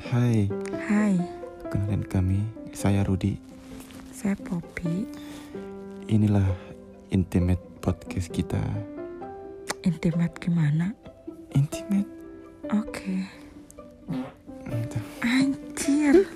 Hai, Hai, kenalin kami, saya Rudi. saya Poppy. Inilah Intimate Podcast kita. Intimate gimana? Intimate? Oke. Entah. Anjir.